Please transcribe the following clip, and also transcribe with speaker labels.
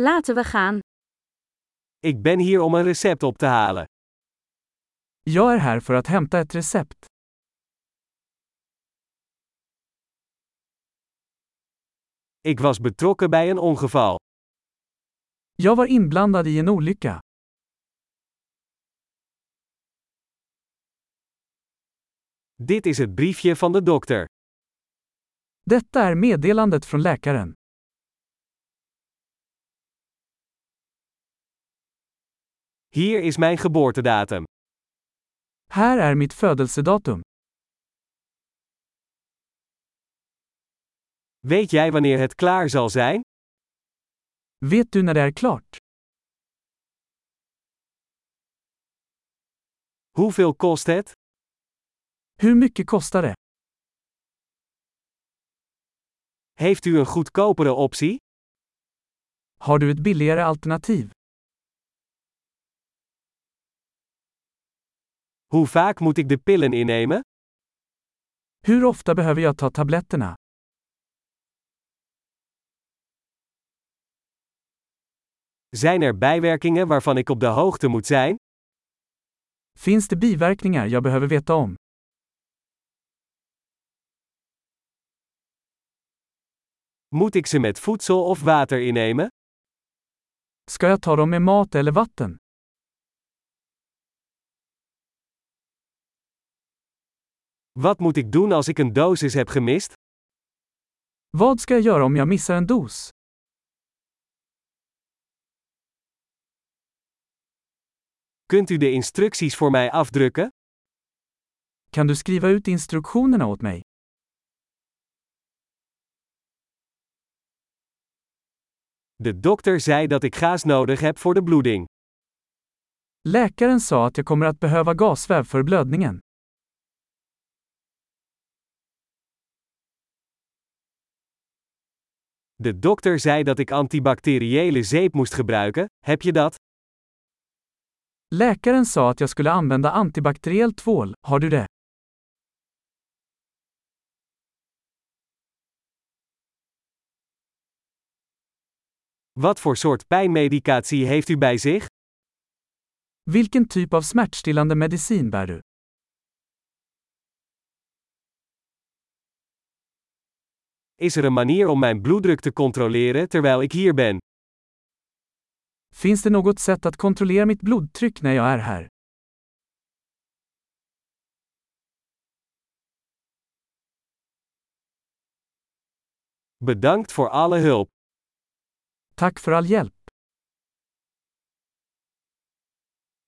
Speaker 1: Laten we gaan.
Speaker 2: Ik ben hier om een recept op te halen.
Speaker 3: Jag är här för att hämta ett recept.
Speaker 2: Ik was betrokken bij een ongeval.
Speaker 3: Jag var inblandad i en olycka.
Speaker 2: Dit is het briefje van de dokter.
Speaker 3: Detta är meddelandet från läkaren.
Speaker 2: Hier is mijn geboortedatum.
Speaker 3: Här är mitt födelsedatum.
Speaker 2: Weet jij wanneer het klaar zal zijn?
Speaker 3: Vet du när det är klart?
Speaker 2: Hoeveel kost het?
Speaker 3: Hur mycket kostar det?
Speaker 2: Heeft u een goedkopere optie?
Speaker 3: Har du ett billigare alternativ?
Speaker 2: Hoe vaak moet ik de pillen innemen?
Speaker 3: Hur ofta behöver jag ta tabletterna?
Speaker 2: Zijn er bijwerkingen waarvan ik op de hoogte moet zijn?
Speaker 3: Finns det biverkningar jag behöver veta om?
Speaker 2: Moet ik ze met voedsel of water innemen?
Speaker 3: Ska jag ta dem med mat eller vatten?
Speaker 2: Wat moet ik doen als ik een dosis heb gemist?
Speaker 3: Vad ska jag göra om jag missar en dos?
Speaker 2: Kunt u de instructies voor mij afdrukken?
Speaker 3: Kan du skriva ut instruktionerna åt mig?
Speaker 2: De dokter zei dat ik gaas nodig heb voor de bloeding.
Speaker 3: Läkaren sa att jag kommer att behöva gasväv för blödningen.
Speaker 2: De dokter zei dat ik antibacteriële zeep moest gebruiken. Heb je dat?
Speaker 3: Läkaren sa att jag skulle använda antibakteriell tvål, har du det?
Speaker 2: Wat voor soort pijnmedicatie heeft u bij zich?
Speaker 3: Vilken typ av smärtstillande medicin bär du?
Speaker 2: Is er een manier om mijn bloeddruk te controleren terwijl ik hier ben?
Speaker 3: Finns det något sätt att kontrollera mitt blodtryck när jag är här?
Speaker 2: Bedankt voor alle hulp.
Speaker 3: Tack för all hjälp.